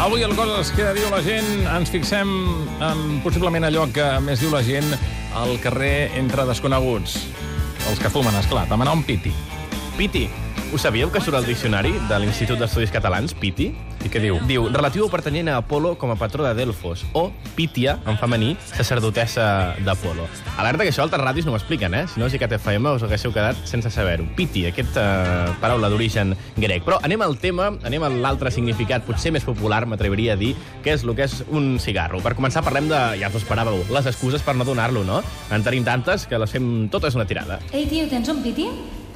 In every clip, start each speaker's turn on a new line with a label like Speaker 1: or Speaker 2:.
Speaker 1: Avui el Coses que diu la gent ens fixem en possiblement allò que més diu la gent al carrer entre desconeguts. Els que fumen, esclar. Demanar un piti.
Speaker 2: Piti. Ho sabíeu que surt al diccionari de l'Institut d'Estudis Catalans, Piti?
Speaker 1: I què diu?
Speaker 2: Diu, relatiu o pertanyent a Apolo com a patró de Delfos, o Pítia, en femení, sacerdotessa d'Apolo. Alerta que això altres ràdios no ho expliquen, eh? Si no, si que TFM us haguéssiu quedat sense saber-ho. Piti, aquesta paraula d'origen grec. Però anem al tema, anem a l'altre significat, potser més popular, m'atreviria a dir, que és el que és un cigarro. Per començar, parlem de, ja us ho esperàveu, les excuses per no donar-lo, no? En tenim tantes que les fem totes una tirada.
Speaker 3: Ei, tio, tens un piti?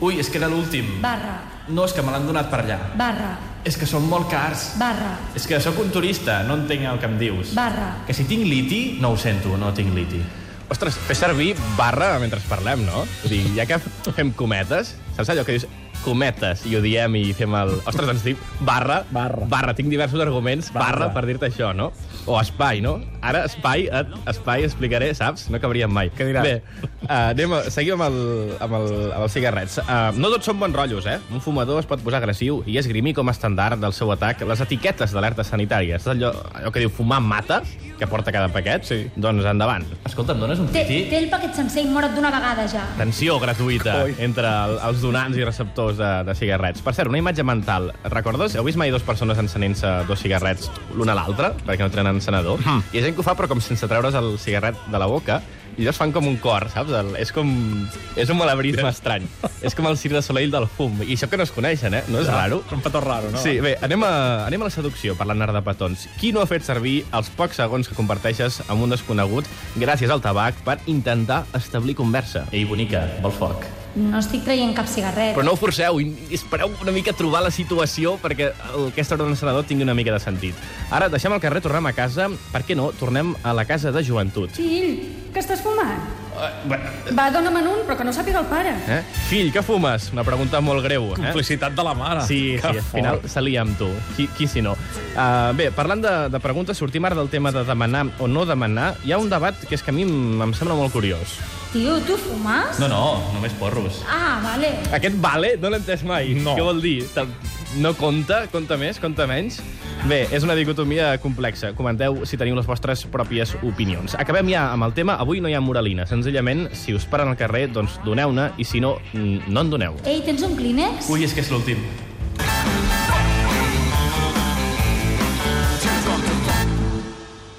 Speaker 4: Ui, és que era l'últim.
Speaker 3: Barra,
Speaker 4: No, és que me l'han donat per allà.
Speaker 3: barra,
Speaker 4: És que són molt cars.
Speaker 3: barra,
Speaker 4: És que sóc un turista, no entenc el que em dius.
Speaker 3: barra.
Speaker 4: Que si tinc liti, no ho sento, no tinc liti.
Speaker 2: Ostres, fer servir barra mentre parlem, no? O sigui, ja que fem cometes, saps allò que dius cometes i ho diem i fem el... Ostres, doncs dic barra,
Speaker 5: Barra.
Speaker 2: barra. Tinc diversos arguments, barra,
Speaker 5: Barra.
Speaker 2: per dir-te això, no? O espai, no? Ara espai, et, espai explicaré, saps? No acabaríem mai.
Speaker 5: Què diràs?
Speaker 2: Bé, uh, anem a, seguim amb, el, amb, el, amb els cigarrets. Uh, no tots són bons rotllos, eh? Un fumador es pot posar agressiu i esgrimir com a estandard del seu atac les etiquetes d'alertes sanitàries. És allò, allò que diu fumar mata, que porta cada paquet. Sí. Doncs endavant.
Speaker 4: Escolta, em dones un
Speaker 3: Té,
Speaker 4: piti?
Speaker 3: té el paquet sencer i mora't d'una vegada ja.
Speaker 2: Tensió gratuïta
Speaker 5: Coi.
Speaker 2: entre el, els donants i receptors de, de cigarrets. Per cert, una imatge mental. Recordes? Heu vist mai dues persones encenent-se dos cigarrets l'una a l'altra, perquè no tenen encenedor? Mm. Hi ha gent que ho fa, però com sense treure's el cigarret de la boca, i llavors fan com un cor, saps? El, és com... És un malabrisme estrany. és com el Cirque de Soleil del fum. I això que no es coneixen, eh? No és raro?
Speaker 5: És un petó raro, no?
Speaker 2: Sí, bé, anem a, anem a la seducció, parlant ara de petons. Qui no ha fet servir els pocs segons que comparteixes amb un desconegut gràcies al tabac per intentar establir conversa?
Speaker 4: Ei, bonica, vol foc.
Speaker 3: No estic traient cap cigarret.
Speaker 2: Però no ho forceu, i i espereu una mica a trobar la situació perquè el- aquesta hora d'encenador tingui una mica de sentit. Ara, deixem el carrer, tornem a casa. Per què no? Tornem a la casa de joventut.
Speaker 6: Fill, que estàs fumant?
Speaker 4: Eh,
Speaker 2: bé.
Speaker 6: Va, dona'm en un, però que no sàpiga el pare.
Speaker 2: Eh? Fill, què fumes? Una pregunta molt greu. Eh?
Speaker 5: Complicitat de la
Speaker 4: Ah,
Speaker 5: mare.
Speaker 2: Sí,
Speaker 5: Que
Speaker 2: sí, al final
Speaker 5: fort.
Speaker 2: salia amb tu. Qui, qui si no? Uh, bé, parlant de, de preguntes, sortim ara del tema de demanar o no demanar. Hi ha un debat que és que a mi em, em sembla molt curiós.
Speaker 3: Tio, tu fumes?
Speaker 4: No, no, només porros.
Speaker 3: Ah, vale.
Speaker 2: Aquest vale no l'he entès mai.
Speaker 5: No.
Speaker 2: Què vol dir? Te- No compta? Compta més? Compta menys? Bé, és una dicotomia complexa. Comenteu si teniu les vostres pròpies opinions. Acabem ja amb el tema. Avui no hi ha moralina. Senzillament, si us paren al carrer, doncs doneu-ne, i si no, mm, no en doneu.
Speaker 3: Ei, tens un clínex?
Speaker 4: Ui, és que és l'últim.